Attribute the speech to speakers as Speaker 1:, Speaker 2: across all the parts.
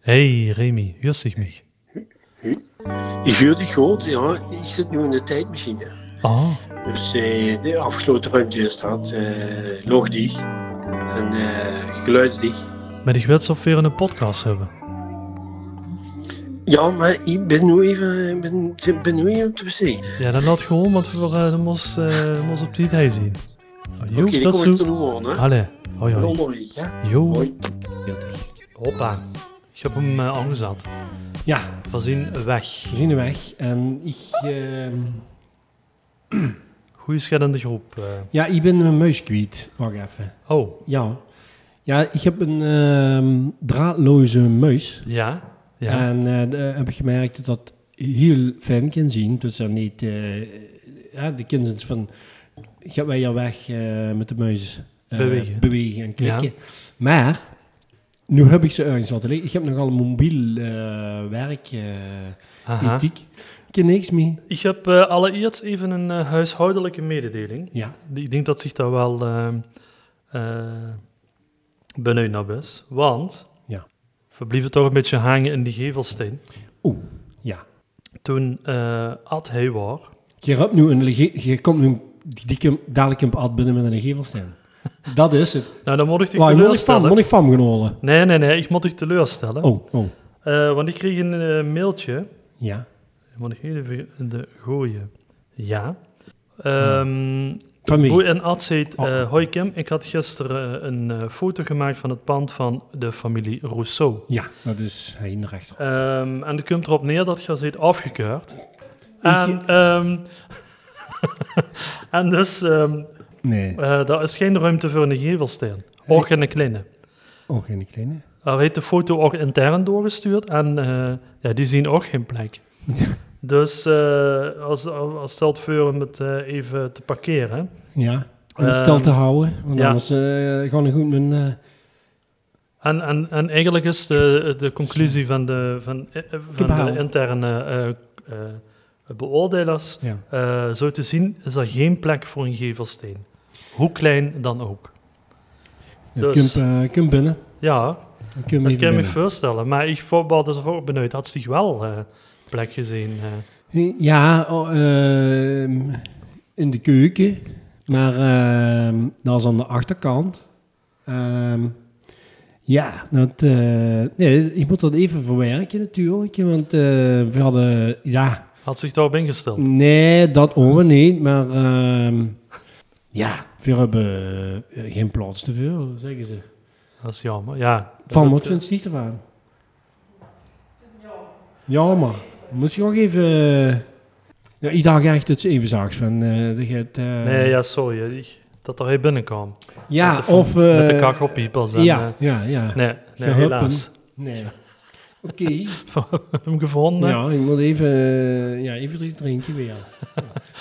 Speaker 1: Hey Remy, hörst dich mich?
Speaker 2: Ik huur die groot, ja, ik zit nu in de tijdmachine.
Speaker 1: Ah,
Speaker 2: Dus eh, de afgesloten ruimte staat eh logdicht en eh, geluidsdicht.
Speaker 1: maar ik wil zelf weer een podcast hebben.
Speaker 2: Ja, maar ik ben nu even, ik ben, ik ben nu even op de wc.
Speaker 1: Ja, dat laat gewoon, want we eh, dat moest, eh, moest op dit hij zien. Ah,
Speaker 2: Oké,
Speaker 1: Jo,
Speaker 2: dan
Speaker 1: tot
Speaker 2: kom ik
Speaker 1: zo.
Speaker 2: er nu aan, hè.
Speaker 1: Allee, hoi
Speaker 2: Een
Speaker 1: hoi.
Speaker 2: onderweg, hè.
Speaker 1: Jo,
Speaker 2: Hoi.
Speaker 1: hoppa. Ik heb hem eh, aangezet.
Speaker 3: Ja,
Speaker 1: We zien weg.
Speaker 3: we zien de weg. En ik, ehm,
Speaker 1: Goeie schat in de groep. eh.
Speaker 3: ja, ik ben mijn muis kwijt. Wacht even.
Speaker 1: Oh,
Speaker 3: Ja. Ja, ik heb een ehm, draadloze muis.
Speaker 1: ja? Ja.
Speaker 3: En eh, de- heb ik gemerkt dat dat heel fijn kan zien. Dus dan niet... eh, ja, de kinderen van... Gaan wij hier weg eh, met de muis eh,
Speaker 1: Bewegen.
Speaker 3: bewegen en klikken. Maar, nu heb ik ze ergens laten liggen. Ik heb nogal een mobiel eh, werk, eh
Speaker 1: Aha.
Speaker 3: ethiek. Ik ken niks mee.
Speaker 1: Ik heb eh, allereerst even een eh, huishoudelijke mededeling.
Speaker 3: Ja.
Speaker 1: Ik denk dat zich daar wel eh eh, benieuwd naar is. Want
Speaker 3: Ja.
Speaker 1: we bleven toch een beetje hangen in die gevelsteen.
Speaker 3: Oeh, ja.
Speaker 1: Toen eh Ad Hayward,
Speaker 3: Je, hebt nu een, lege- je komt nu die dikke dadelijk een ad binnen met een gevelsteen. Dat is het.
Speaker 1: nou dan moet ik je
Speaker 3: Waar moet ik van?
Speaker 1: teleurstellen.
Speaker 3: Moet ik van genomen?
Speaker 1: Nee, nee, nee, ik moet je teleurstellen.
Speaker 3: Oh, oh.
Speaker 1: Eh, want ik kreeg een eh, mailtje.
Speaker 3: Ja.
Speaker 1: Moet ik even in de gooien? Ja. Ehm
Speaker 3: Van
Speaker 1: Boe
Speaker 3: wie?
Speaker 1: en Ad zegt,
Speaker 3: Oh.
Speaker 1: eh, hoi Kim, ik had gisteren eh, een eh, foto gemaakt van het pand van de familie Rousseau.
Speaker 3: Ja, dat is hij in de rechter.
Speaker 1: Ehm, en dat komt erop neer dat je zit afgekeurd. En, ehm, en dus, ehm
Speaker 3: Nee,
Speaker 1: eh, daar is geen ruimte voor een gevelsteen. Ook in een kleine.
Speaker 3: ook oh, geen kleine.
Speaker 1: Daar heeft de foto ook intern doorgestuurd en eh, ja, die zien ook geen plek. Dus eh, als, als stelt voor om het eh, even te parkeren.
Speaker 3: Ja. Om het
Speaker 1: Ehm,
Speaker 3: stil te houden, want
Speaker 1: ja.
Speaker 3: anders eh gaan we goed mijn... eh,
Speaker 1: En, en, en eigenlijk is de, de conclusie van de, van, eh, eh, van
Speaker 3: Gebouw.
Speaker 1: de interne eh, eh, beoordelers,
Speaker 3: ja.
Speaker 1: eh, zo te zien, is er geen plek voor een gevelsteen. Hoe klein dan ook.
Speaker 3: Ja,
Speaker 1: Dus-
Speaker 3: Kun je kun je eh, binnen.
Speaker 1: Ja,
Speaker 3: Dan kun je
Speaker 1: dat
Speaker 3: even
Speaker 1: kan je me
Speaker 3: binnen.
Speaker 1: voorstellen. Maar ik voetbal dus ook benieuwd. Had zich wel eh, plek gezien. eh.
Speaker 3: Ja, oh, ehm, in de keuken. Maar ehm, dat is aan de achterkant. Ehm, ja, dat, eh, nee, ik moet dat even verwerken natuurlijk. Want eh, we hadden... Ja,
Speaker 1: had zich daarop ingesteld.
Speaker 3: nee, dat ook weer niet. Maar ehm, ja, we hebben eh, geen plaats te veel, zeggen ze.
Speaker 1: Dat eh, is jammer. Ja,
Speaker 3: Van
Speaker 1: Dat-
Speaker 3: wat vindt ze niet ervan? Ja, maar moet je ook even. eh, Ja, ik dacht echt dat ze even zag van. eh, dat je het, eh,
Speaker 1: Nee, ja, sorry. eh, ik- Dat er hij binnenkwam.
Speaker 3: ja,
Speaker 1: met de,
Speaker 3: of. eh,
Speaker 1: met de kakkelpiepers. en,
Speaker 3: Ja,
Speaker 1: eh,
Speaker 3: ja, ja.
Speaker 1: nee, nee
Speaker 3: Gehuppen.
Speaker 1: helaas.
Speaker 3: Nee. Oké.
Speaker 1: Hem gevonden.
Speaker 3: Ja, ik moet even. eh, ja, even drie drinken weer. Ja.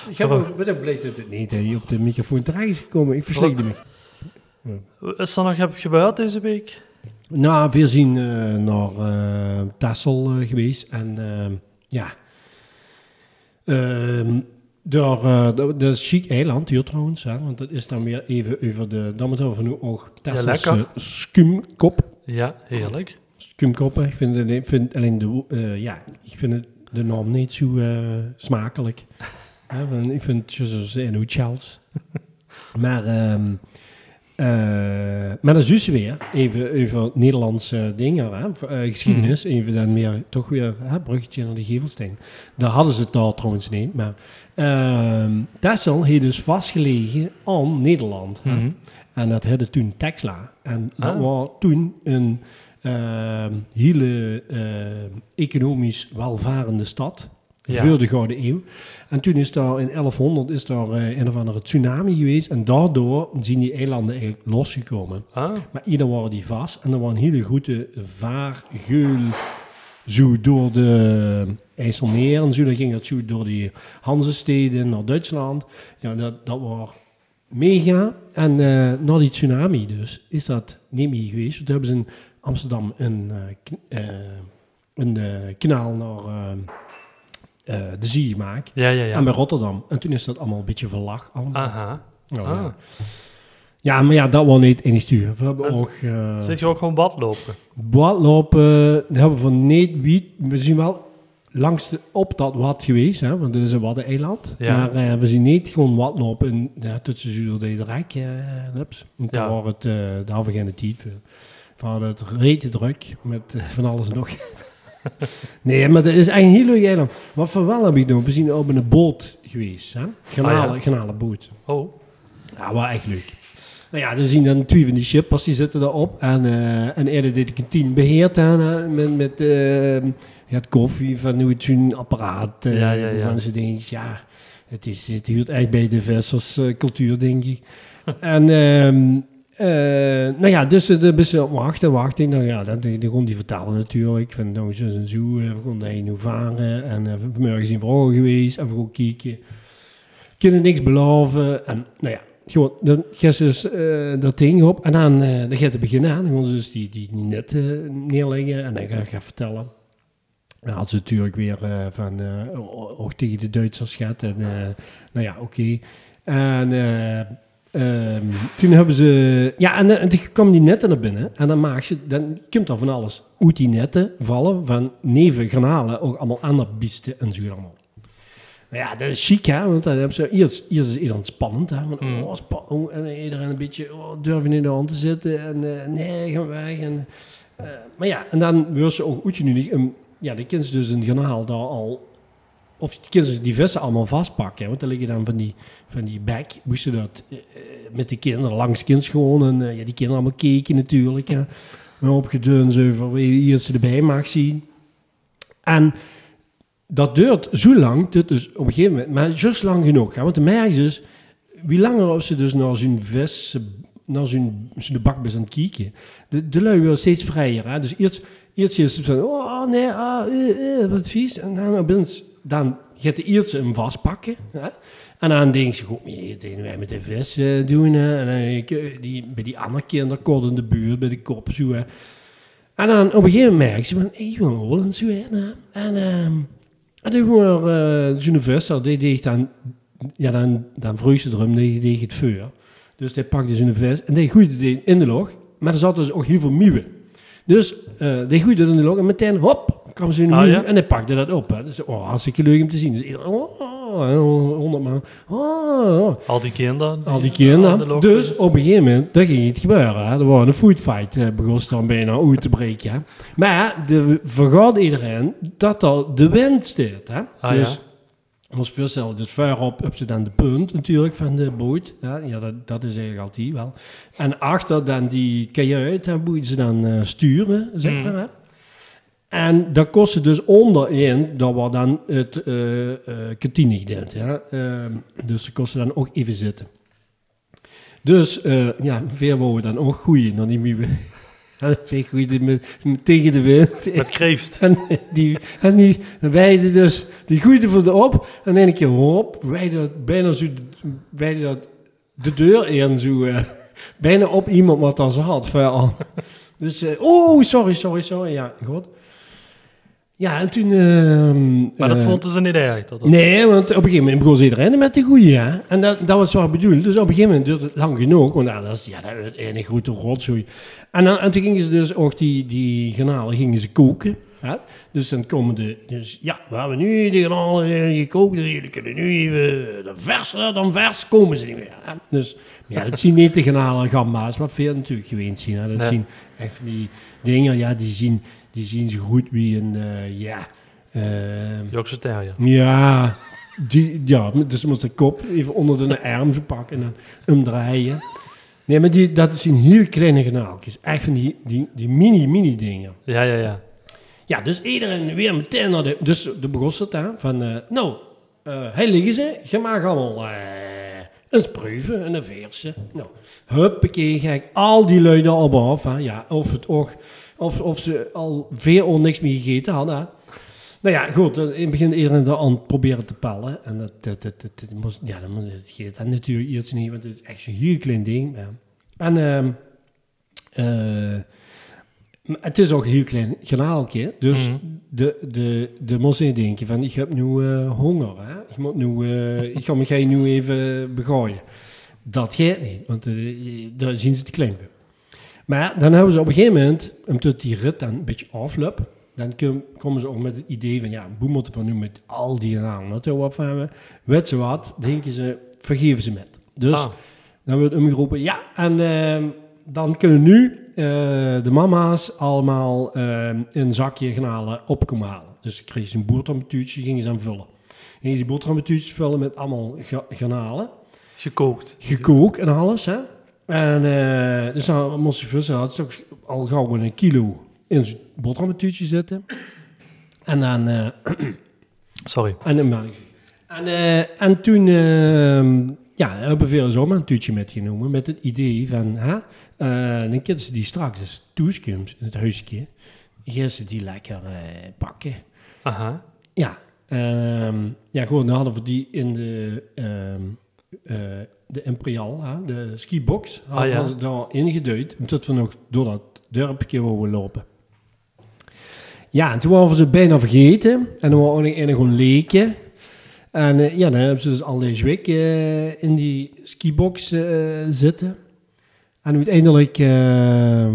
Speaker 3: Ik heb ook, maar dan bleek dat het niet hè, die op de microfoon terecht is gekomen. Ik verslikte me.
Speaker 1: Is er nog heb- gebeurd deze week?
Speaker 3: Nou, we zijn eh, naar eh Texel eh, geweest en ehm, ja, Ehm, daar, eh, dat dat is chic eiland hier trouwens, hè, want dat is dan weer even over de, dan moeten we van nu ook Texelse
Speaker 1: lekker.
Speaker 3: skumkop,
Speaker 1: Ja, heerlijk.
Speaker 3: skumkoppen. Ik vind, alleen- vind alleen de, wo- eh, ja, ik vind het, de naam niet zo eh, smakelijk. Hè, want ik vind het zoals in hoe Charles. Maar, ehm eh, maar dan zus weer even over Nederlandse dingen, hè, v- eh, geschiedenis, even dan weer, toch weer hè, bruggetje naar de gevelsteen. Daar hadden ze het daar trouwens niet, maar ehm Texel heeft dus vastgelegen aan Nederland. hè.
Speaker 1: Mhm.
Speaker 3: En dat hadden toen Tesla. En dat
Speaker 1: Ah.
Speaker 3: was toen een ehm, hele ehm, economisch welvarende stad.
Speaker 1: Ja.
Speaker 3: Voor de Gouden Eeuw. En toen is daar in 1100 is daar eh, een of andere tsunami geweest. En daardoor zijn die eilanden eigenlijk losgekomen.
Speaker 1: Ah,
Speaker 3: Maar ieder waren die vast. En er was een hele grote vaargeul zo door de IJsselmeer en zo. Dan ging het zo door die Hanzesteden naar Duitsland. Ja, dat, dat was mega. En eh, na die tsunami dus, is dat niet meer geweest. Toen hebben ze in Amsterdam een, eh, kn- eh, een eh, kanaal naar eh, eh, de zee gemaakt.
Speaker 1: ja, ja,
Speaker 3: En
Speaker 1: ja.
Speaker 3: bij Rotterdam. En toen is dat allemaal een beetje verlag allemaal.
Speaker 1: Aha.
Speaker 3: Ja,
Speaker 1: Ah.
Speaker 3: ja. Ja, maar ja, dat was niet enig stuur. We hebben
Speaker 1: Dat-
Speaker 3: ook... eh,
Speaker 1: Zit Ah. je ook gewoon badlopen?
Speaker 3: Badlopen, dat hebben we van niet wiet. We zien wel langs de, op dat wat geweest, hè, want dit is een waddeneiland.
Speaker 1: Ja.
Speaker 3: Maar eh, we zien niet gewoon wat op in ja, tussen Zuiderdijk en Lips. En toen
Speaker 1: Ja.
Speaker 3: waren het eh de halve geen tijd voor. Van het rete druk met eh, van alles en nog. nee, maar dat is echt een heel leuk eiland. Wat voor wel heb ik nog? We zien op een boot geweest, hè? Granale,
Speaker 1: Ah, ja.
Speaker 3: granalenboot.
Speaker 1: Oh,
Speaker 3: Ja, wel echt leuk. Nou ja, dan zien dan twee van die shippers, die zitten daarop. En, eh, en eerder deed ik een tien beheerd aan, hè, met, met eh, ja, het koffie van hoe het zo'n apparaat. eh,
Speaker 1: Ja, ja, ja.
Speaker 3: Van ze denk ik, ja, het, is, het huurt echt bij de visserscultuur, cultuur denk ik. en ehm, eh, nou ja, dus eh, daar ben ze op wachten, wachten. Nou ja, dat, die, die, gewoon die vertalen natuurlijk. Van nou, zo en zo, eh, we konden heen hoe varen. En eh, vanmorgen zijn we al geweest, even goed kijken kunnen niks beloven. En nou ja, gewoon, dan gaat ze dus eh, dat ding op en dan, eh dan gaat het beginnen aan. Dan gaan ze dus die, die, die net eh, neerleggen en dan gaan ze vertellen. Dan had ze natuurlijk weer eh, van, eh, o- ook tegen de Duitsers gaat. En eh, nou ja, oké. En eh, ehm, toen hebben ze, ja, en, eh, en toen kwam die netten naar binnen. En dan maakt ze, dan komt er van alles uit die netten vallen van neven, granalen, ook allemaal andere biesten en zo allemaal. Nou ja, dat is chic, hè? Want dan hebben ze, hier, is, hier is iedereen spannend, hè? Want,
Speaker 1: Mm.
Speaker 3: oh, spa- oh, en iedereen een beetje, oh, durf je in de hand te zitten? En eh, nee, gaan weg. En, eh, maar ja, en dan wordt ze ook uitgenodigd. om- Ja, dan kunnen ze dus een granaal daar al... Of kunnen ze die vissen allemaal vastpakken. hè, Want dan liggen dan van die, van die bek. Moesten dat eh, eh, met de kinderen langs kind gewoon. En eh, ja, die kinderen allemaal keken natuurlijk. Hè. Maar opgedun ze van wie hier ze erbij mag zien. En dat duurt zo lang, dat dus op een gegeven moment, maar juist lang genoeg. Hè? Want de merk is dus, wie langer of ze dus naar zijn vis, naar zijn, zijn bakbis aan het kieken. De, de lui wil steeds vrijer. Hè? Dus eerst, eerst is het van, oh nee, ah, eh, eh, wat vies. En dan, opeens- dan gaat de eerste hem vastpakken. Hè? En dan denkt ze, goed, nee, dat gaan wij met de vis eh, doen. Hè? En dan denk ik, eh, die, bij die andere kinderen, kort in de buurt, bij de kop zo. Hè? En dan op een gegeven moment merk ze van, ik wil wel een zo hè, nou. En, ehm en toen was eh zo'n visser, die deed dan, ja, dan, dan vroeg ze erom, die deed het vuur. Dus die pakte zo'n vis en die gooide die in de log. Maar er zat dus ook heel veel meeuwen. Dus eh die gooide het in de log en meteen, hop, kwam zo'n
Speaker 1: Ah,
Speaker 3: nieuwe
Speaker 1: ja?
Speaker 3: en die pakte dat op. Hè. Dus oh, hartstikke leuk om te zien. Dus iedereen, oh, oh, oh, honderd man, oh, oh.
Speaker 1: al die kinderen.
Speaker 3: Al die
Speaker 1: aan de eh,
Speaker 3: kinderen.
Speaker 1: loop-
Speaker 3: Dus op een gegeven moment, dat ging iets gebeuren. Hè. Er was een foodfight, eh, begon ze dan bijna uit te breken. Hè. Maar de, vergat iedereen dat al de wind staat. Hè.
Speaker 1: Ah,
Speaker 3: dus
Speaker 1: ja.
Speaker 3: ons voorstel dus ver op, op zit aan de punt natuurlijk van de boot. Ja, ja dat, dat is eigenlijk altijd wel. En achter dan die kajuit, daar moeten ze dan eh, sturen, zeg
Speaker 1: Mm.
Speaker 3: maar. Hè. En dat kostte dus onderin, dat was dan het eh eh kantinegedeelte. Ja. Ehm, dus ze kosten dan ook even zitten. Dus, eh, ja, veel wouden we dan ook groeien, dan die muwen. Tegen goeie- met- met- tegen de wind.
Speaker 1: Met kreeft.
Speaker 3: En die, en die weiden dus, die groeiden voor de op. En in een keer, hop, weiden dat, bijna zo, weiden dat de deur in, zo, eh, bijna op iemand wat dan ze had. vuil. Dus, eh, oh, sorry, sorry, sorry, ja, goed. Ja, en toen... ehm,
Speaker 1: Maar dat
Speaker 3: eh,
Speaker 1: vond ze niet erg. Dat, dat-
Speaker 3: Nee, want op een gegeven moment begon ze iedereen met de goeie. Hè? En dat, dat was wat bedoeld. Dus op een gegeven moment duurde het lang genoeg. Want ja, dat is ja, dat is een grote rotzooi. En, dan, en toen gingen ze dus ook die, die granalen gingen ze koken. Hè? Dus dan komen de... Dus ja, we hebben nu de granalen eh, gekookt. Dus jullie kunnen nu even... eh, De verser dan vers komen ze niet meer. Hè? Dus ja, dat zien niet de granalen gamma's. Maar veel natuurlijk gewend zien. Hè? Dat
Speaker 1: Nee.
Speaker 3: zien echt van die dingen. Ja, die zien, die zien zo goed wie een... eh, ja... ehm,
Speaker 1: Yorkshire Terrier.
Speaker 3: ja, die, ja, dus moest de kop even onder de arm zo pakken en dan hem draaien. Nee, maar die, dat zijn heel kleine granaaltjes. Echt van die, die, die mini, mini dingen.
Speaker 1: Ja, ja, ja.
Speaker 3: Ja, dus iedereen weer meteen naar de... Dus de begon ze het, hè, van... eh, nou, eh hij liggen ze. Je mag allemaal eh een spruiven en een veersen. Nou, huppakee, ga ik al die luiden op af. Hè. Ja, of, het ook, of, of ze al veel of niks meer gegeten hadden. Hè. Nou ja, goed, eh, in het begin iedereen dat aan het proberen te pellen. En dat, dat, dat, dat, dat moest, ja, dat, moet- dat geeft dan natuurlijk iets niet, want het is echt zo'n heel klein ding. hè. En ehm, eh, maar het is ook een heel klein granaaltje. Dus
Speaker 1: Mhm.
Speaker 3: de, de, de mossé denken van, ik heb nu eh, honger. Hè? Ik, moet nu, eh, ik ga me geen nu even begooien. Dat gaat niet, want eh, daar zien ze te klein voor. Maar dan hebben ze op een gegeven moment, omdat die rit dan een beetje afloopt, dan kom- komen ze ook met het idee van, ja, hoe moeten we nu met al die namen naartoe afhalen? Weet ze wat, denken ze, vergeven ze met. Dus
Speaker 1: Ah,
Speaker 3: dan wordt omgeroepen, ja, en ehm, dan kunnen nu eh, de mama's allemaal ehm, een zakje gaan halen, op komen halen. Dus ik kreeg ze een boertrammetuurtje, gingen ze dan vullen. Gingen ze die boertrammetuurtjes vullen met allemaal ga- garnalen
Speaker 1: gekookt.
Speaker 3: gekookt en alles, hè. En eh, dus dan moest je vissen, had ze ook al gauw een kilo in zijn boterhammetje zitten. En dan... eh,
Speaker 1: Sorry.
Speaker 3: en, dan maar- en, eh, en toen eh, ja, hebben we veel zomaar een tuutje metgenomen met het idee van... Hè, eh, dan kunnen ze die straks als toeskums in het huisje, gaan ze die lekker eh, pakken.
Speaker 1: Aha.
Speaker 3: Ja, ehm, ja, gewoon, dan hadden we die in de, ehm, eh, de Imperial, hè, de skibox, hadden
Speaker 1: Ah, ja.
Speaker 3: we ze daar ingeduid, omdat we nog door dat dorpje wouden lopen. Ja, en toen waren we ze bijna vergeten. En dan waren we in gewoon leken. En eh, ja, dan hebben ze dus al deze week eh, in die skibox eh, zitten. En uiteindelijk, ehm,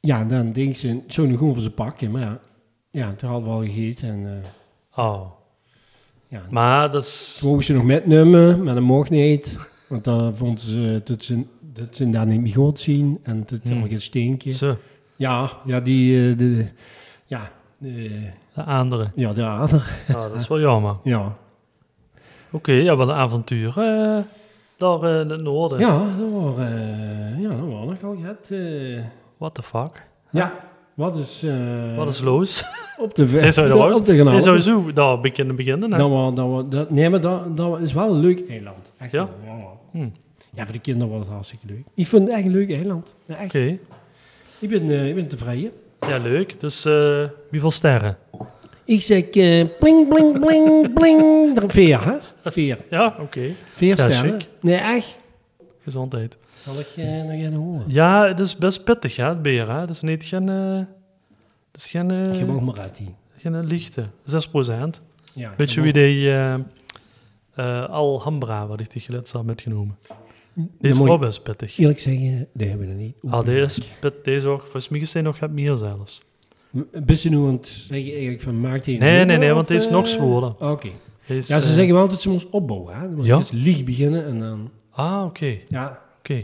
Speaker 3: ja, dan denken ze, zo nu gewoon voor ze pakken. Maar ja, ja, toen hadden we al gegeten. En, eh,
Speaker 1: Oh.
Speaker 3: ja,
Speaker 1: Maar dat is...
Speaker 3: toen mogen ze nog metnemen, maar dat mocht niet. Want dan vonden ze dat ze, dat ze daar niet meer goed zien. En dat het
Speaker 1: Hmm.
Speaker 3: allemaal geen steentje.
Speaker 1: Ze,
Speaker 3: Ja, ja, die... eh, de, ja, eh,
Speaker 1: de andere.
Speaker 3: ja, de ader.
Speaker 1: Ah, dat is wel jammer.
Speaker 3: Ja,
Speaker 1: Oké, ja, wat een avontuur. eh, daar eh, in het noorden.
Speaker 3: ja, dat waren, eh, ja, dat waren nogal het... eh,
Speaker 1: What the fuck?
Speaker 3: ja, wat is... eh,
Speaker 1: wat is los?
Speaker 3: Op de
Speaker 1: Dit
Speaker 3: weg.
Speaker 1: zou je los.
Speaker 3: Op de Nou.
Speaker 1: Dit zou
Speaker 3: genade.
Speaker 1: je zo daar beginnen beginnen. hè?
Speaker 3: Dat was, dat was, dat, nee, maar dat, dat is wel een leuk eiland. Echt
Speaker 1: Ja?
Speaker 3: wel, Ja, ja.
Speaker 1: Hm, Oké.
Speaker 3: ja, voor de kinderen was het hartstikke leuk. Ik vond het echt een leuk eiland. Ja, echt. Ik, ben, eh, ik ben tevreden.
Speaker 1: Ja, leuk. Dus eh wie wil sterren?
Speaker 3: Ik zeg eh bling, bling, bling, bling. Er- Veer, hè? Veer.
Speaker 1: Ja, oké.
Speaker 3: Veer
Speaker 1: Ja,
Speaker 3: sterren.
Speaker 1: chic.
Speaker 3: Nee, echt.
Speaker 1: Gezondheid.
Speaker 3: Zal ik eh, nog even horen?
Speaker 1: Ja, het is best pittig, hè, het beer. Hè? Het is niet geen... eh, het is geen, eh,
Speaker 3: Gewoon Marathi.
Speaker 1: geen eh, lichte. 6 procent.
Speaker 3: Ja,
Speaker 1: Weet je wie die eh, eh, Alhambra, wat ik die gelid had metgenomen? Die is
Speaker 3: Dan moet
Speaker 1: ook
Speaker 3: ik
Speaker 1: best pittig.
Speaker 3: Eerlijk zeggen, die hebben we niet.
Speaker 1: Ah, deze is pit, deze ook. Volgens mij is die nog het meer zelfs.
Speaker 3: Best je nu aan het zeggen eigenlijk van maakt die een
Speaker 1: Nee,
Speaker 3: nummer,
Speaker 1: nee, nee, want
Speaker 3: of,
Speaker 1: die is
Speaker 3: eh,
Speaker 1: nog zwoerder.
Speaker 3: Oké.
Speaker 1: Die is,
Speaker 3: Ja, ze
Speaker 1: eh,
Speaker 3: zeggen wel dat ze moest opbouwen. Hè? Dan moet je
Speaker 1: Ja?
Speaker 3: eerst licht beginnen en dan...
Speaker 1: Ah, oké,
Speaker 3: Ja,
Speaker 1: oké.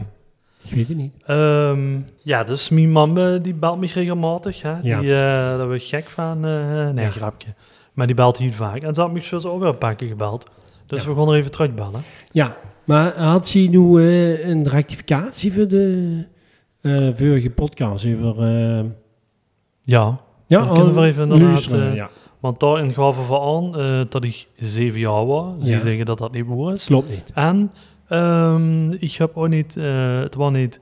Speaker 3: ik weet het niet.
Speaker 1: Ehm, ja, dus mijn mam eh, die belt me regelmatig. Hè?
Speaker 3: Ja.
Speaker 1: Die, eh, daar ben ik gek van. eh, nee,
Speaker 3: Ja.
Speaker 1: grapje. Maar die belt hier vaak. En ze had mijn zus ook weer een paar keer gebeld. Dus
Speaker 3: Ja.
Speaker 1: we gaan er even terugbellen.
Speaker 3: Ja, maar had ze nu eh, een rectificatie voor de eh vorige podcast? Over, eh
Speaker 1: Ja,
Speaker 3: ja,
Speaker 1: Dan kunnen we
Speaker 3: oh,
Speaker 1: even inderdaad,
Speaker 3: luisteren,
Speaker 1: eh,
Speaker 3: ja.
Speaker 1: want daarin gaven we aan eh, dat ik zeven jaar was. Ze
Speaker 3: Ja.
Speaker 1: zeggen dat dat niet waar is.
Speaker 3: Klopt niet.
Speaker 1: En ehm, ik heb ook niet, eh, het was niet,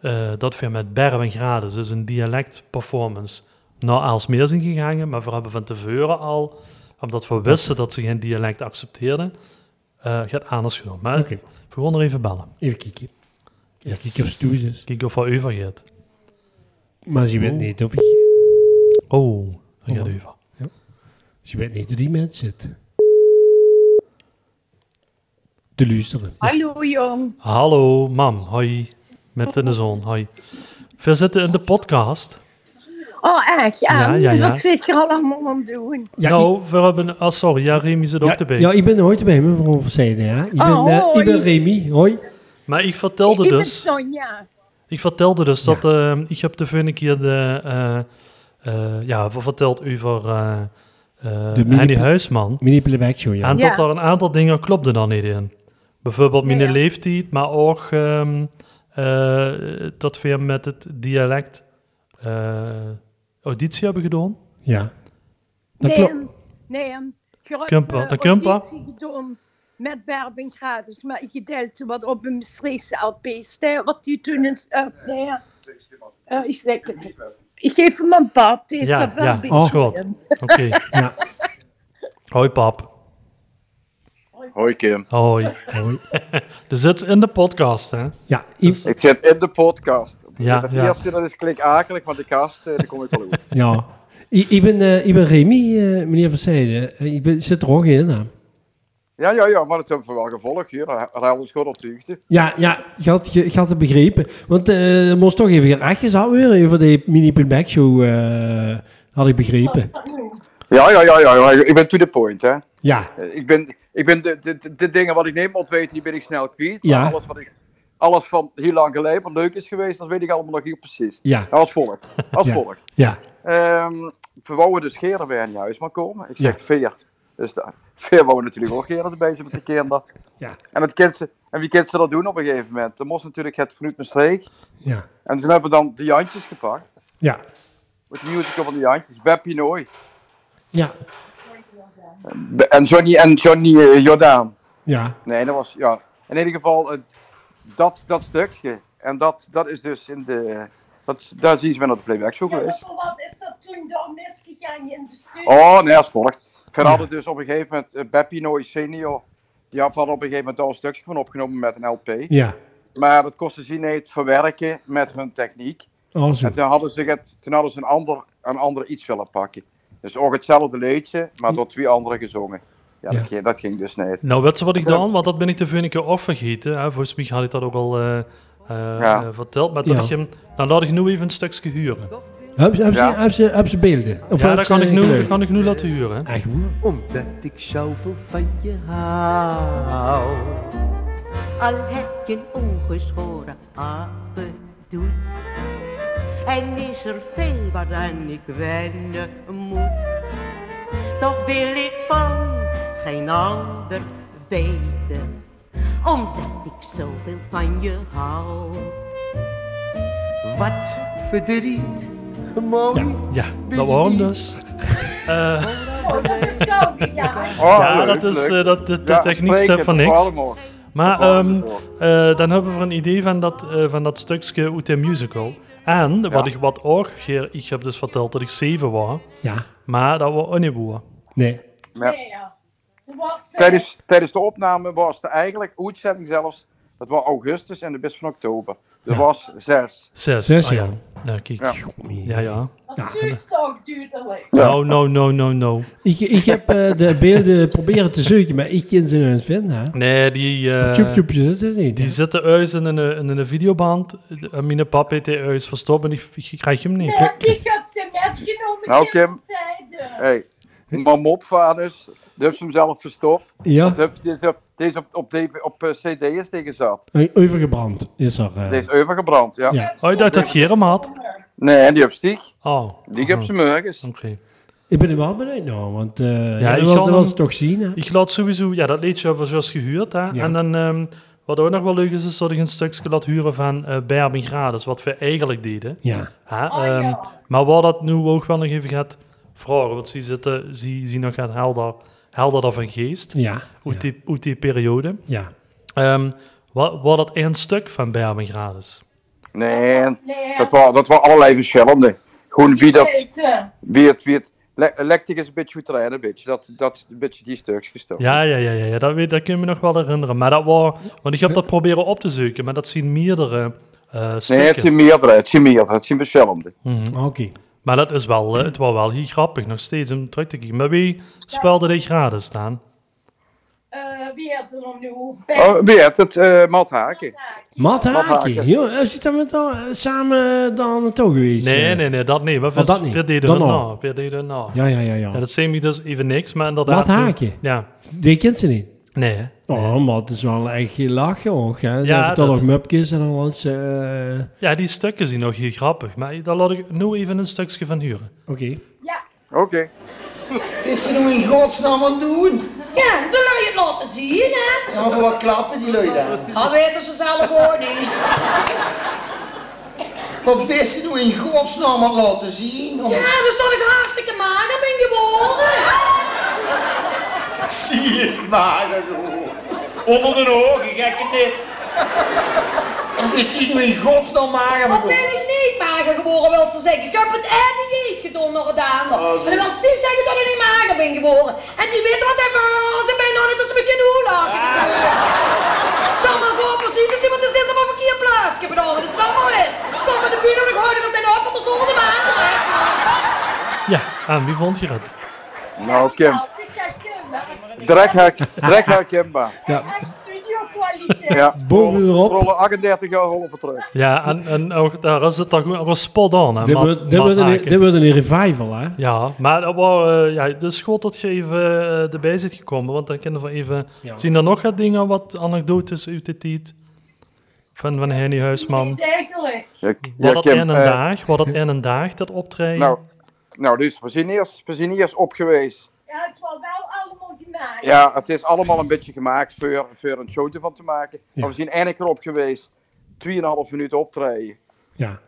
Speaker 1: eh, dat we met Berben en Grades, dus een dialectperformance, naar Aalsmeer zijn gegaan. Maar we hebben van tevoren al, omdat we wisten dat ze geen dialect accepteerden, eh gaat anders genomen. Maar
Speaker 3: Ah, Oké.
Speaker 1: we gaan er even bellen.
Speaker 3: Even kijken. Ja,
Speaker 1: Yes.
Speaker 3: kijk of ze toe is.
Speaker 1: Kijk of we over gaat.
Speaker 3: Maar ze weet
Speaker 1: Oh.
Speaker 3: niet of ik-
Speaker 1: Oh, hij gaat
Speaker 3: Oh.
Speaker 1: over.
Speaker 3: Ze weet niet hoe die mens zit. Te luisteren. Ja.
Speaker 4: Hallo Jan.
Speaker 1: Hallo, mam, hoi. Met de zoon, hoi. We zitten in de podcast.
Speaker 4: Oh echt? En
Speaker 1: Ja, ja, ja.
Speaker 4: wat zit je allemaal aan het doen?
Speaker 3: Ja,
Speaker 1: nou, we hebben... Ah, sorry, ja, Remy zit ook
Speaker 3: Ja,
Speaker 1: erbij.
Speaker 3: ja, ik ben er ooit bij, mevrouw Versijden. Ja. Ik, ben,
Speaker 4: Oh,
Speaker 3: eh, ik ben
Speaker 4: hoi.
Speaker 3: Remy. Hoi.
Speaker 1: Maar ik vertelde
Speaker 4: ik
Speaker 1: dus...
Speaker 4: ben Sonja.
Speaker 1: Ik vertelde dus
Speaker 3: Ja.
Speaker 1: dat ehm, ik heb de vorige keer de, eh eh, ja, v- verteld over eh eh,
Speaker 3: De mini-
Speaker 1: Henny Huisman.
Speaker 3: Mini Playback Show, ja.
Speaker 1: En
Speaker 4: Ja.
Speaker 1: dat er een aantal dingen klopten dan niet in. Bijvoorbeeld mijn
Speaker 4: Ja, ja.
Speaker 1: leeftijd, maar ook ehm, eh, dat we met het dialect eh, auditie hebben gedaan.
Speaker 3: ja. Dat
Speaker 4: Nee,
Speaker 3: klopt.
Speaker 4: nee. Je hebt,
Speaker 1: Kumper,
Speaker 4: eh,
Speaker 1: de Kumper.
Speaker 4: auditie gedaan met Berben gratis, maar ik deelte wat op een Maastrichtse LP staan, wat die toen eens... eh, nee, eh, ik zeg het niet. Ik geef hem een pap, die is
Speaker 1: Ja,
Speaker 4: er wel
Speaker 1: ja, Oh,
Speaker 4: een
Speaker 3: Oh,
Speaker 4: beetje
Speaker 1: is goed.
Speaker 4: in.
Speaker 1: Oké.
Speaker 3: Ja.
Speaker 1: Hoi pap.
Speaker 5: Hoi Kim.
Speaker 1: Hoi.
Speaker 3: Hoi.
Speaker 1: Dus dit is in de podcast, hè?
Speaker 3: Ja, ik-
Speaker 5: Ik zit in de podcast.
Speaker 1: Ja,
Speaker 5: het
Speaker 1: ja.
Speaker 5: eerste dat is klink akelig, maar de kast, eh, daar kom ik wel over.
Speaker 3: Ja, ik, ik, ben, eh, ik ben Remy, eh, meneer Van Zijden. Eh, ik ben, zit er ook in. hè.
Speaker 5: Ja, ja, ja, maar dat hebben we wel gevolgd hier. Ruil is goed op de hoogte.
Speaker 3: Ja, ja, je had, je, je had het begrepen. Want eh, er moest toch even gerechtjes weer over die mini-playback show, eh, had ik begrepen.
Speaker 5: Ja, ja, ja, ja, ja, ik ben to the point, hè.
Speaker 3: Ja,
Speaker 5: Eh, Ik ben, ik ben de, de, de- de dingen wat ik neem ontweten, die ben ik snel kwijt.
Speaker 3: Ja.
Speaker 5: Maar Alles, wat ik, alles van heel lang geleden wat leuk is geweest, dat weet ik allemaal nog niet precies.
Speaker 3: ja,
Speaker 5: Nou, als volgt. Als
Speaker 3: Ja.
Speaker 5: volgt.
Speaker 3: ja.
Speaker 5: Ehm, we wouden dus Gerard bij in huis maar komen. Ik zeg
Speaker 3: Ja.
Speaker 5: Veer. Dus da- Veer wou natuurlijk ook Gerard erbij zijn met de kinderen.
Speaker 3: Ja.
Speaker 5: En, dat kent ze, en wie kent ze dat doen op een gegeven moment? Dan moest natuurlijk het Vloed met Streek.
Speaker 3: Ja.
Speaker 5: En toen hebben we dan de Jantjes gepakt.
Speaker 3: Ja.
Speaker 5: Met de musical van de Jantjes. Beb Pinoy.
Speaker 3: Ja.
Speaker 5: Be- En Johnny, en Johnny eh, Jordaan.
Speaker 3: Ja.
Speaker 5: Nee, dat was, ja. In ieder geval, eh, dat, dat stukje. En dat, dat is dus in de... Dat, daar is iets met op de playback show
Speaker 4: Ja,
Speaker 5: geweest.
Speaker 4: maar wat is er toen door misgegaan in bestuur?
Speaker 5: Oh, nee, als volgt. Verder hadden dus op een gegeven moment eh, Beppie Nooy senior. Die had had op een gegeven moment al een stukje van opgenomen met een LP.
Speaker 3: Ja.
Speaker 5: Maar dat kostte ze niet het verwerken met hun techniek.
Speaker 3: Oh, zo.
Speaker 5: En toen hadden ze, het, toen hadden ze een, ander, een ander iets willen pakken. Dus ook hetzelfde liedje, maar door twee anderen gezongen. Ja,
Speaker 3: Ja.
Speaker 5: Dat, ging, dat ging dus niet.
Speaker 1: Nou, weet ze wat ik
Speaker 5: Ja.
Speaker 1: dan? Want dat ben ik de vorige keer ook vergeten. Hè? Volgens mij had ik dat ook al eh, eh,
Speaker 5: Ja.
Speaker 1: eh, verteld. Maar toen
Speaker 3: Ja.
Speaker 1: dacht ik hem, dan laat ik nu even een stukje huren.
Speaker 3: Heb ze- heb ze-
Speaker 5: Ja.
Speaker 3: heb ze- heb ze beelden? Of
Speaker 1: ja,
Speaker 3: heb
Speaker 1: dat
Speaker 3: ze
Speaker 1: kan, ik nu, dat
Speaker 3: geluid?
Speaker 1: kan ik nu laten huren.
Speaker 3: Echt hoor.
Speaker 6: omdat ik zoveel van je hou. Al heb je een ongeschoren aangedoet, en is er veel waaraan ik wennen moet. Toch wil ik van geen ander weten, omdat ik zoveel van je hou. Wat verdriet, mooi.
Speaker 1: Ja, dat waren dus. Eh,
Speaker 4: Oh, dat is gauw gegaan.
Speaker 5: Oh,
Speaker 1: ja,
Speaker 5: leuk,
Speaker 1: dat is
Speaker 5: leuk.
Speaker 1: eh, dat, dat,
Speaker 5: Ja,
Speaker 1: dat techniek
Speaker 5: spreek
Speaker 1: staat
Speaker 5: het,
Speaker 1: van
Speaker 5: dat
Speaker 1: niks.
Speaker 5: waren we.
Speaker 1: Maar
Speaker 5: waren
Speaker 1: ehm,
Speaker 5: we voor.
Speaker 1: eh, dan hebben we een idee van dat, eh, van dat stukje uit de musical. En wat
Speaker 5: Ja.
Speaker 1: ik wat ook, Geer, ik heb dus verteld dat ik zeven was,
Speaker 3: Ja.
Speaker 1: maar dat was ook niet waar.
Speaker 3: Nee.
Speaker 5: Ja.
Speaker 4: Nee, ja. Dat was, eh,
Speaker 5: Tijdens, tijdens de opname was het eigenlijk, uitzending zelfs, dat was augustus en de best van oktober. Dat was zes.
Speaker 1: Zes.
Speaker 3: Zes,
Speaker 1: ah, ja.
Speaker 3: ja.
Speaker 1: Ja, kijk.
Speaker 5: Ja.
Speaker 1: Ja, ja. Nou,
Speaker 4: Dat duurt ook duurder.
Speaker 5: Ja.
Speaker 1: No, no, no, no, no.
Speaker 3: Ik, ik heb eh, de beelden proberen te zoeken, maar ik ken ze niet vinden. hè.
Speaker 1: Nee, die... eh,
Speaker 3: Tjoep-tjoepjes, dat is niet.
Speaker 1: Die
Speaker 3: hè.
Speaker 1: zitten uit in een, in een videoband. En mijn pap heeft die uit verstopt en ik, ik krijg hem niet.
Speaker 4: Ja, die gaat zijn metgenomen.
Speaker 5: Nou,
Speaker 4: die
Speaker 5: Kim. Eh,
Speaker 4: zeiden.
Speaker 5: Hey, maar mopvaders, die heeft ze hem zelf verstopt.
Speaker 3: Ja,
Speaker 5: Dat heeft deze op, deze op, op, DV op eh, cd is tegen zat.
Speaker 3: overgebrand is er. eh.
Speaker 5: Die is overgebrand, ja.
Speaker 3: Ja.
Speaker 1: Oh, ik dacht dat Geer hem had.
Speaker 5: Nee, en die heeft stiek.
Speaker 1: Oh.
Speaker 5: Die heb ze
Speaker 1: Oké.
Speaker 5: morgens.
Speaker 3: Ik ben er wel benieuwd naar, want eh ja,
Speaker 1: ik zal
Speaker 3: dat wil- dat wil
Speaker 1: hem-
Speaker 3: ze toch zien. Hè?
Speaker 1: Ik laat sowieso... Ja, dat liedje hebben we zoals gehuurd, hè. En dan... ehm, wat ook nog wel leuk is, is dat ik een stukje laat huren van eh Berbing Grades, wat we eigenlijk deden.
Speaker 3: Ja.
Speaker 1: Hè,
Speaker 4: Oh, ja.
Speaker 1: ehm, Maar waar dat nu ook wel nog even gaat vragen, want ze zitten, ze zien nog gaat helder, helderder van geest,
Speaker 3: Ja.
Speaker 1: uit, die, uit die periode.
Speaker 3: Ja.
Speaker 1: Ehm wat, wat dat één stuk van Berbing Grades.
Speaker 5: Nee,
Speaker 4: Nee,
Speaker 5: dat waren dat waren allerlei verschillende. Gewoon wie dat,
Speaker 4: weten.
Speaker 5: wie het, wie het. Le- Lectic is een beetje hoe trainen, een beetje. Dat, dat is een beetje die stuks gestopt.
Speaker 1: Ja, ja, ja, ja, ja dat, weet, dat kun je me nog wel herinneren. Maar dat was, want ik heb dat proberen op te zoeken, maar dat zien meerdere eh,
Speaker 5: Nee, het
Speaker 1: stukken.
Speaker 5: zijn meerdere, het zijn meerdere, het zijn verschillende.
Speaker 1: Mhm.
Speaker 3: Oké.
Speaker 1: Maar dat is wel, eh, het was wel heel grappig nog steeds om terug te kijken. Maar wie speelde die graden staan?
Speaker 4: Eh, Wie had er nog nu?
Speaker 5: Oh, wie heeft het? eh Matt Haken.
Speaker 3: Matt
Speaker 5: Matt
Speaker 3: Haakje.
Speaker 5: Haakje.
Speaker 3: Joh, eh, zit dat met al, eh, samen eh, daar naartoe geweest?
Speaker 1: Nee,
Speaker 3: eh?
Speaker 1: nee, nee, dat niet. Maar we
Speaker 3: dat niet.
Speaker 1: we deden
Speaker 3: Dan
Speaker 1: het
Speaker 3: nog.
Speaker 1: na. We deden het na.
Speaker 3: Ja, ja, ja, ja.
Speaker 1: Ja, dat zijn we dus even niks, maar inderdaad...
Speaker 3: Wat
Speaker 1: toen-
Speaker 3: haakje?
Speaker 1: Ja.
Speaker 3: Die kent ze niet.
Speaker 1: Nee, hè?
Speaker 3: Oh, maar het is wel echt heel lachen ook. Hè?
Speaker 1: Ja,
Speaker 3: Ja, vertel
Speaker 1: dat-
Speaker 3: nog mupjes en alles. eh,
Speaker 1: Ja, die stukken zien nog heel grappig, maar daar laat ik nu even een stukje van huren.
Speaker 3: Oké.
Speaker 4: Ja.
Speaker 5: Oké.
Speaker 7: Is ze nou in godsnaam aan het doen?
Speaker 8: Ja, dan laat je het laten zien, hè?
Speaker 7: Ja, voor wat klappen die lui daar?
Speaker 8: Dat weten ze zelf ook niet.
Speaker 7: Wat is ze nou in godsnaam aan het laten zien? Om-
Speaker 8: Ja, dus dat ik hartstikke mager ben geworden.
Speaker 7: Zie je maar Onder de ogen, gekke net. Wat is die nou in godsnaam mager
Speaker 8: Wat ben
Speaker 7: begonnen?
Speaker 8: ik niet mager geworden, wil ze zeggen. Ik heb het einde gedaan nog gedaan.
Speaker 7: Ah, zo.
Speaker 8: En dan wil ze niet zeggen dat ik niet mager ben geworden. En die weten wat even als ze mij nog niet dat ze me kunnen hoelaken.
Speaker 7: Ah.
Speaker 8: Zal maar gewoon voorzien zien, want er zit op een verkeerd plaatsje bedoven. Dus nou maar weet. Kom met de buren, dan gooi ik op de hoop, anders zonder de maand.
Speaker 1: Ja, en wie vond je het?
Speaker 5: Nou,
Speaker 4: Ja,
Speaker 5: Kim.
Speaker 4: Kim.
Speaker 5: Drek herkenbaar.
Speaker 4: Echt studio kwaliteit.
Speaker 5: Ja.
Speaker 3: Boven erop.
Speaker 5: Rollen 38 jaar rollen voor terug.
Speaker 1: Ja, en, en ook, daar is het dan goed. Dat was spot on, hè,
Speaker 3: Dit
Speaker 1: Matt-
Speaker 3: wordt- dit
Speaker 1: Matt
Speaker 3: wordt een-
Speaker 1: Haken.
Speaker 3: dit wordt een revival, hè?
Speaker 1: Ja, maar dat was, eh, ja, het is goed dat je even eh, erbij zit gekomen. Want dan kunnen we even...
Speaker 3: Ja.
Speaker 1: Zien er nog wat dingen, wat anekdotes uit de tijd? Van, van Henny Huisman.
Speaker 4: Niet eigenlijk.
Speaker 5: Ja,
Speaker 1: Wat dat
Speaker 5: Kim,
Speaker 1: in een
Speaker 5: eh,
Speaker 1: dag, wat dat in een dag, dat optreden.
Speaker 5: Nou, nou, dus we zijn eerst, we zijn eerst op geweest.
Speaker 4: Ja, het was wel allemaal gemaakt.
Speaker 5: Ja, het is allemaal een beetje gemaakt voor, voor een show ervan te maken. Maar we zijn eindelijk erop geweest. 2,5 minuten optreden.
Speaker 3: Ja.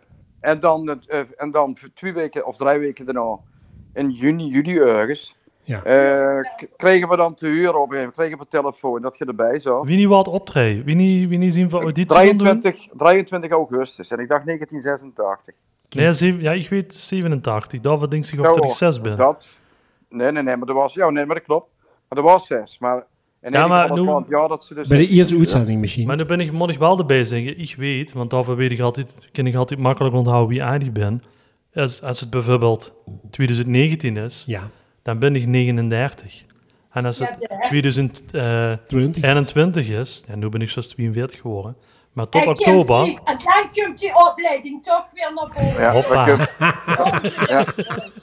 Speaker 5: En dan, het, eh, en dan voor twee weken of drie weken daarna, in juni, juli ergens,
Speaker 3: Ja.
Speaker 5: eh, k- kregen we dan te huren op een kregen we telefoon dat je erbij zou.
Speaker 1: Wie niet wat optreden? Wie niet, wie niet zien van auditie gaan doen?
Speaker 5: 23, 23 augustus en ik dacht 1986.
Speaker 1: Nee, zeven- ja, ik weet 87. Dat we denk ik
Speaker 5: Zo,
Speaker 1: ook dat ik zes ben.
Speaker 5: Dat, nee, nee, nee, maar er was, ja, nee, maar dat klopt. Maar er was zes. Maar, en
Speaker 1: Ja,
Speaker 5: ja,
Speaker 1: maar
Speaker 5: maar
Speaker 1: nu-
Speaker 5: ja, dat ze dus
Speaker 3: Bij de eerste uitzending misschien.
Speaker 1: Maar nu ben ik moet ik wel erbij zeggen, ik weet, want daarvoor weet ik altijd, kan ik altijd makkelijk onthouden wie aardig ben. Als, als het bijvoorbeeld 2019 is,
Speaker 3: ja.
Speaker 1: dan ben ik 39. En als het
Speaker 4: Ja, hè?
Speaker 1: 2021
Speaker 3: 20.
Speaker 1: is, en nu ben ik zo'n 42 geworden, maar tot
Speaker 4: En komt
Speaker 1: oktober,
Speaker 4: die- En dan komt die opleiding toch weer naar boven.
Speaker 5: Ja, dan,
Speaker 1: Hoppa.
Speaker 5: kun-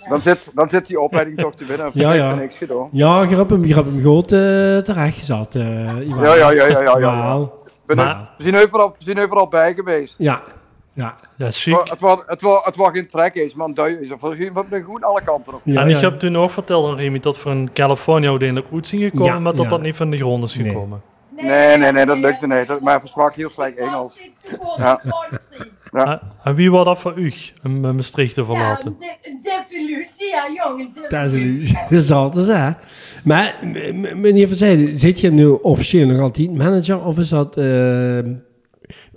Speaker 5: dan, zit, dan zit die opleiding toch te winnen.
Speaker 3: Ja,
Speaker 5: Ja,
Speaker 3: ja.
Speaker 5: ja. Niks gedaan.
Speaker 3: Ja, je hebt hem, je hebt hem goed eh, terecht gezet. eh, Iwan.
Speaker 5: Ja, ja, ja, ja, ja. ja.
Speaker 3: Wauw.
Speaker 5: We zijn-
Speaker 1: Maar-
Speaker 5: we zijn overal- we zijn overal bij geweest.
Speaker 3: Ja. Ja.
Speaker 1: ja,
Speaker 3: Oh,
Speaker 5: Maar
Speaker 1: chic.
Speaker 5: Het was, het, was, het was geen track eens, man. Duiven is er voorzien van de groen alle kanten op.
Speaker 3: Ja,
Speaker 1: en ik
Speaker 3: ja.
Speaker 1: heb toen ook verteld aan Remy dat voor een California uiteindelijk goed zien gekomen,
Speaker 3: Ja,
Speaker 1: maar dat
Speaker 3: ja.
Speaker 1: dat niet van de grond is
Speaker 3: Nee.
Speaker 1: gekomen.
Speaker 5: Nee, nee, nee, dat lukte niet. Dat, maar verswak heel slecht Engels. Ja.
Speaker 4: Ja.
Speaker 1: En- En wie was dat voor u, om eh, Maastricht te
Speaker 4: Ja,
Speaker 1: verlaten?
Speaker 4: een de- een desillusie, ja, jongen.
Speaker 3: Dat is
Speaker 4: desillusie.
Speaker 3: een- dat is altijd hè. Maar m- m- meneer Verzijde, zit je nu officieel nog altijd manager of is dat eh,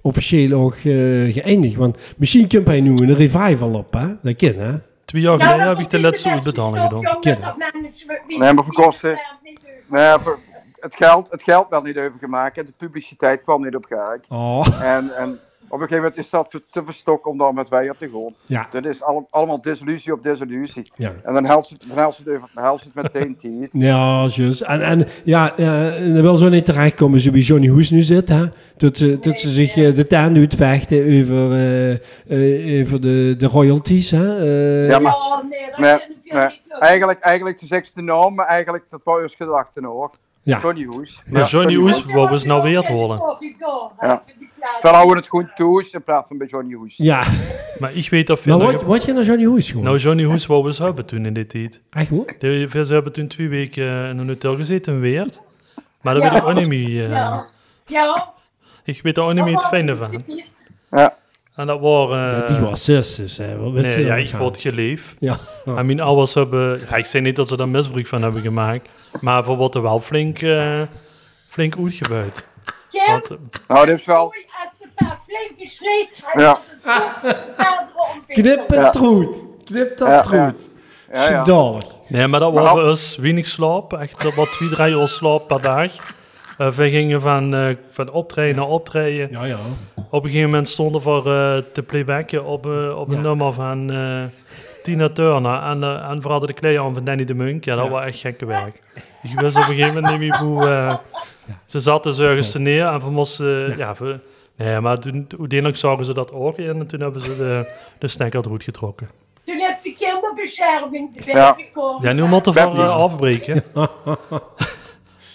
Speaker 3: officieel ook eh, geëindigd? Want misschien komt hij nu een revival op, hè? Dat kan, hè?
Speaker 1: Twee jaar
Speaker 4: Nou,
Speaker 1: geleden
Speaker 4: dat
Speaker 1: heb ik de laatste
Speaker 4: was niet beste
Speaker 1: uitbetaling
Speaker 4: stap,
Speaker 1: gedaan.
Speaker 4: jongen,
Speaker 3: Kinderen.
Speaker 4: dat management- wie-
Speaker 5: Nee, maar voor
Speaker 4: wie-
Speaker 5: kosten.
Speaker 4: wie- wie- wie- wie-
Speaker 5: Nee, voor- het geld, het geld werd niet overgemaakt en de publiciteit kwam niet op gelijk.
Speaker 3: Oh,
Speaker 5: En, en op een gegeven moment is dat te, te verstokken om daar met wij te gaan.
Speaker 3: ja.
Speaker 5: Dit is alle- allemaal desillusie op desillusie.
Speaker 3: Ja.
Speaker 5: En dan helpt het, dan helpt het, even- dan helpt het meteen niet.
Speaker 3: Ja, juist. En, en ja, eh, en dan wil zo niet terechtkomen zoals bij Johnny Hoes nu zit, hè? Dat ze, dat ze zich eh, de taan doet vechten over, eh, eh, over de, de royalties, hè? Eh,
Speaker 5: Ja, maar-
Speaker 4: Oh, nee, dat
Speaker 5: Nee,
Speaker 4: kunnen we
Speaker 5: nee.
Speaker 4: niet doen.
Speaker 5: Eigenlijk, eigenlijk de zesde naam, maar eigenlijk dat was eerst gedachten hoor.
Speaker 3: Ja.
Speaker 5: Johnny Hoes.
Speaker 1: Maar Johnny
Speaker 4: Want
Speaker 1: Hoes-
Speaker 4: toen
Speaker 1: wat was
Speaker 4: was
Speaker 1: nou
Speaker 4: hij
Speaker 1: weer
Speaker 4: ook
Speaker 1: te
Speaker 4: in de
Speaker 1: horen?
Speaker 4: corridor, hè,
Speaker 5: Ja.
Speaker 4: voor die plaats.
Speaker 5: Verhouden het goed toe in plaats van bij Johnny Hoes.
Speaker 3: ja.
Speaker 1: Maar ik weet dat
Speaker 3: Maar
Speaker 1: veel.
Speaker 3: Nou, wat, wat je naar Johnny Hoes gewoon?
Speaker 1: Nou, Johnny Hoes wou eens hebben toen in dit tijd.
Speaker 3: Echt hoor?
Speaker 1: De vis hebben toen twee weken eh, in een hotel gezeten in Weert. Maar dat
Speaker 4: Ja.
Speaker 1: weet ik ook niet meer. eh,
Speaker 4: Ja. Ja.
Speaker 1: Ik weet daar ook niet meer het fijne
Speaker 4: dat
Speaker 1: van.
Speaker 4: was niet.
Speaker 5: Ja.
Speaker 1: En dat waren... eh,
Speaker 3: Die was zus, dus hè, wat weet
Speaker 1: Nee,
Speaker 3: je
Speaker 1: ja,
Speaker 3: dan
Speaker 1: ik
Speaker 3: gaan?
Speaker 1: word geleefd.
Speaker 3: Ja.
Speaker 1: En mijn ouders hebben... Ja, ik zei niet dat ze daar misbruik van hebben gemaakt. Maar voor wat er wel flink, eh flink uitgebuit.
Speaker 4: Kim,
Speaker 1: Want, eh,
Speaker 5: Nou, dit is wel.
Speaker 4: oei, als de paard flink is leeg, hij
Speaker 5: Ja.
Speaker 4: had het
Speaker 1: Ah.
Speaker 4: zo verder ontwikkeld.
Speaker 3: Knip het
Speaker 5: Ja.
Speaker 3: roet. Knip dat
Speaker 5: Ja,
Speaker 3: ja,
Speaker 5: ja.
Speaker 3: roet.
Speaker 5: Ja, ja.
Speaker 3: Schandalig.
Speaker 1: nee, maar dat
Speaker 5: Maar
Speaker 1: waren
Speaker 5: al-
Speaker 1: dus weinig slaap. Echt eh, wat twee, drie uur slaap per dag. Eh, we gingen van, eh, van optreden naar optreden.
Speaker 3: Ja, ja.
Speaker 1: Op een gegeven moment stonden we eh, te playbacken op, eh, op een
Speaker 3: Ja.
Speaker 1: nummer van eh, Tina Turner. En, eh, en vooral de klei aan van Danny de Munk. Ja, dat
Speaker 3: Ja.
Speaker 1: was echt gekke werk. Ik wist op een gegeven moment niet meer hoe... eh, Ze zaten dus ergens te neer en we moesten... ja. we- nee, maar toen, uiteindelijk zagen ze dat ook in. En toen hebben ze de, de snack uit de hoed getrokken.
Speaker 4: Toen is de kinderbescherming te
Speaker 5: Ja.
Speaker 4: binnengekomen.
Speaker 1: Ja, nu moet er
Speaker 5: Bep-
Speaker 1: van eh, afbreken.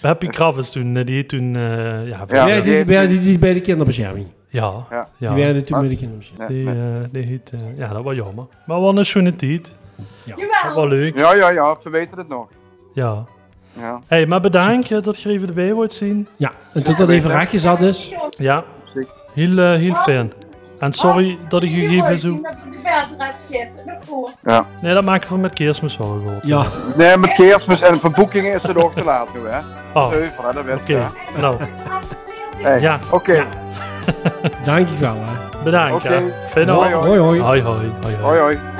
Speaker 1: Happy Kravis toen, eh, die heeft toen... eh, ja,
Speaker 5: Ja,
Speaker 1: ja,
Speaker 3: Ja,
Speaker 5: maar
Speaker 3: die,
Speaker 5: die-
Speaker 3: die, die, die bij de kinderbescherming.
Speaker 1: ja,
Speaker 5: Ja.
Speaker 1: ja.
Speaker 3: Die werden toen
Speaker 5: Wat?
Speaker 3: bij de kinderbescherming.
Speaker 1: Die, eh, die heet, eh, ja, dat was jammer. Maar wat een schöne tijd. Dat was
Speaker 4: Jawel.
Speaker 1: leuk.
Speaker 5: Ja, ja, ja, ze weten het nog.
Speaker 1: Ja.
Speaker 5: Ja,
Speaker 1: Hey, maar bedankt eh, dat je er even erbij wordt zien.
Speaker 3: Ja, en tot dat even rechtjes had dus.
Speaker 1: Ja.
Speaker 5: Zeker.
Speaker 1: Heel, eh, heel fijn. En sorry dat ik je geef zo.
Speaker 4: Dat ik de verder uit schiet. Dat hoort.
Speaker 5: ja.
Speaker 1: Nee, dat maken we met kerstmis wel goed.
Speaker 3: Ja,
Speaker 5: Nee, met kerstmis en voor boekingen is het ook te laat nu, hè.
Speaker 1: Oh, oké.
Speaker 5: Zeuver, hè, dat weet je, hè.
Speaker 1: Nou,
Speaker 5: Hey,
Speaker 1: ja,
Speaker 5: Oké,
Speaker 3: dankjewel hè.
Speaker 1: bedankt.
Speaker 5: Oké.
Speaker 1: Ja. Fijne
Speaker 5: Hoi,
Speaker 1: avond.
Speaker 5: hoi.
Speaker 3: Hoi
Speaker 1: Hoi,
Speaker 3: hoi.
Speaker 1: hoi. Hoi, hoi.
Speaker 5: hoi hoi.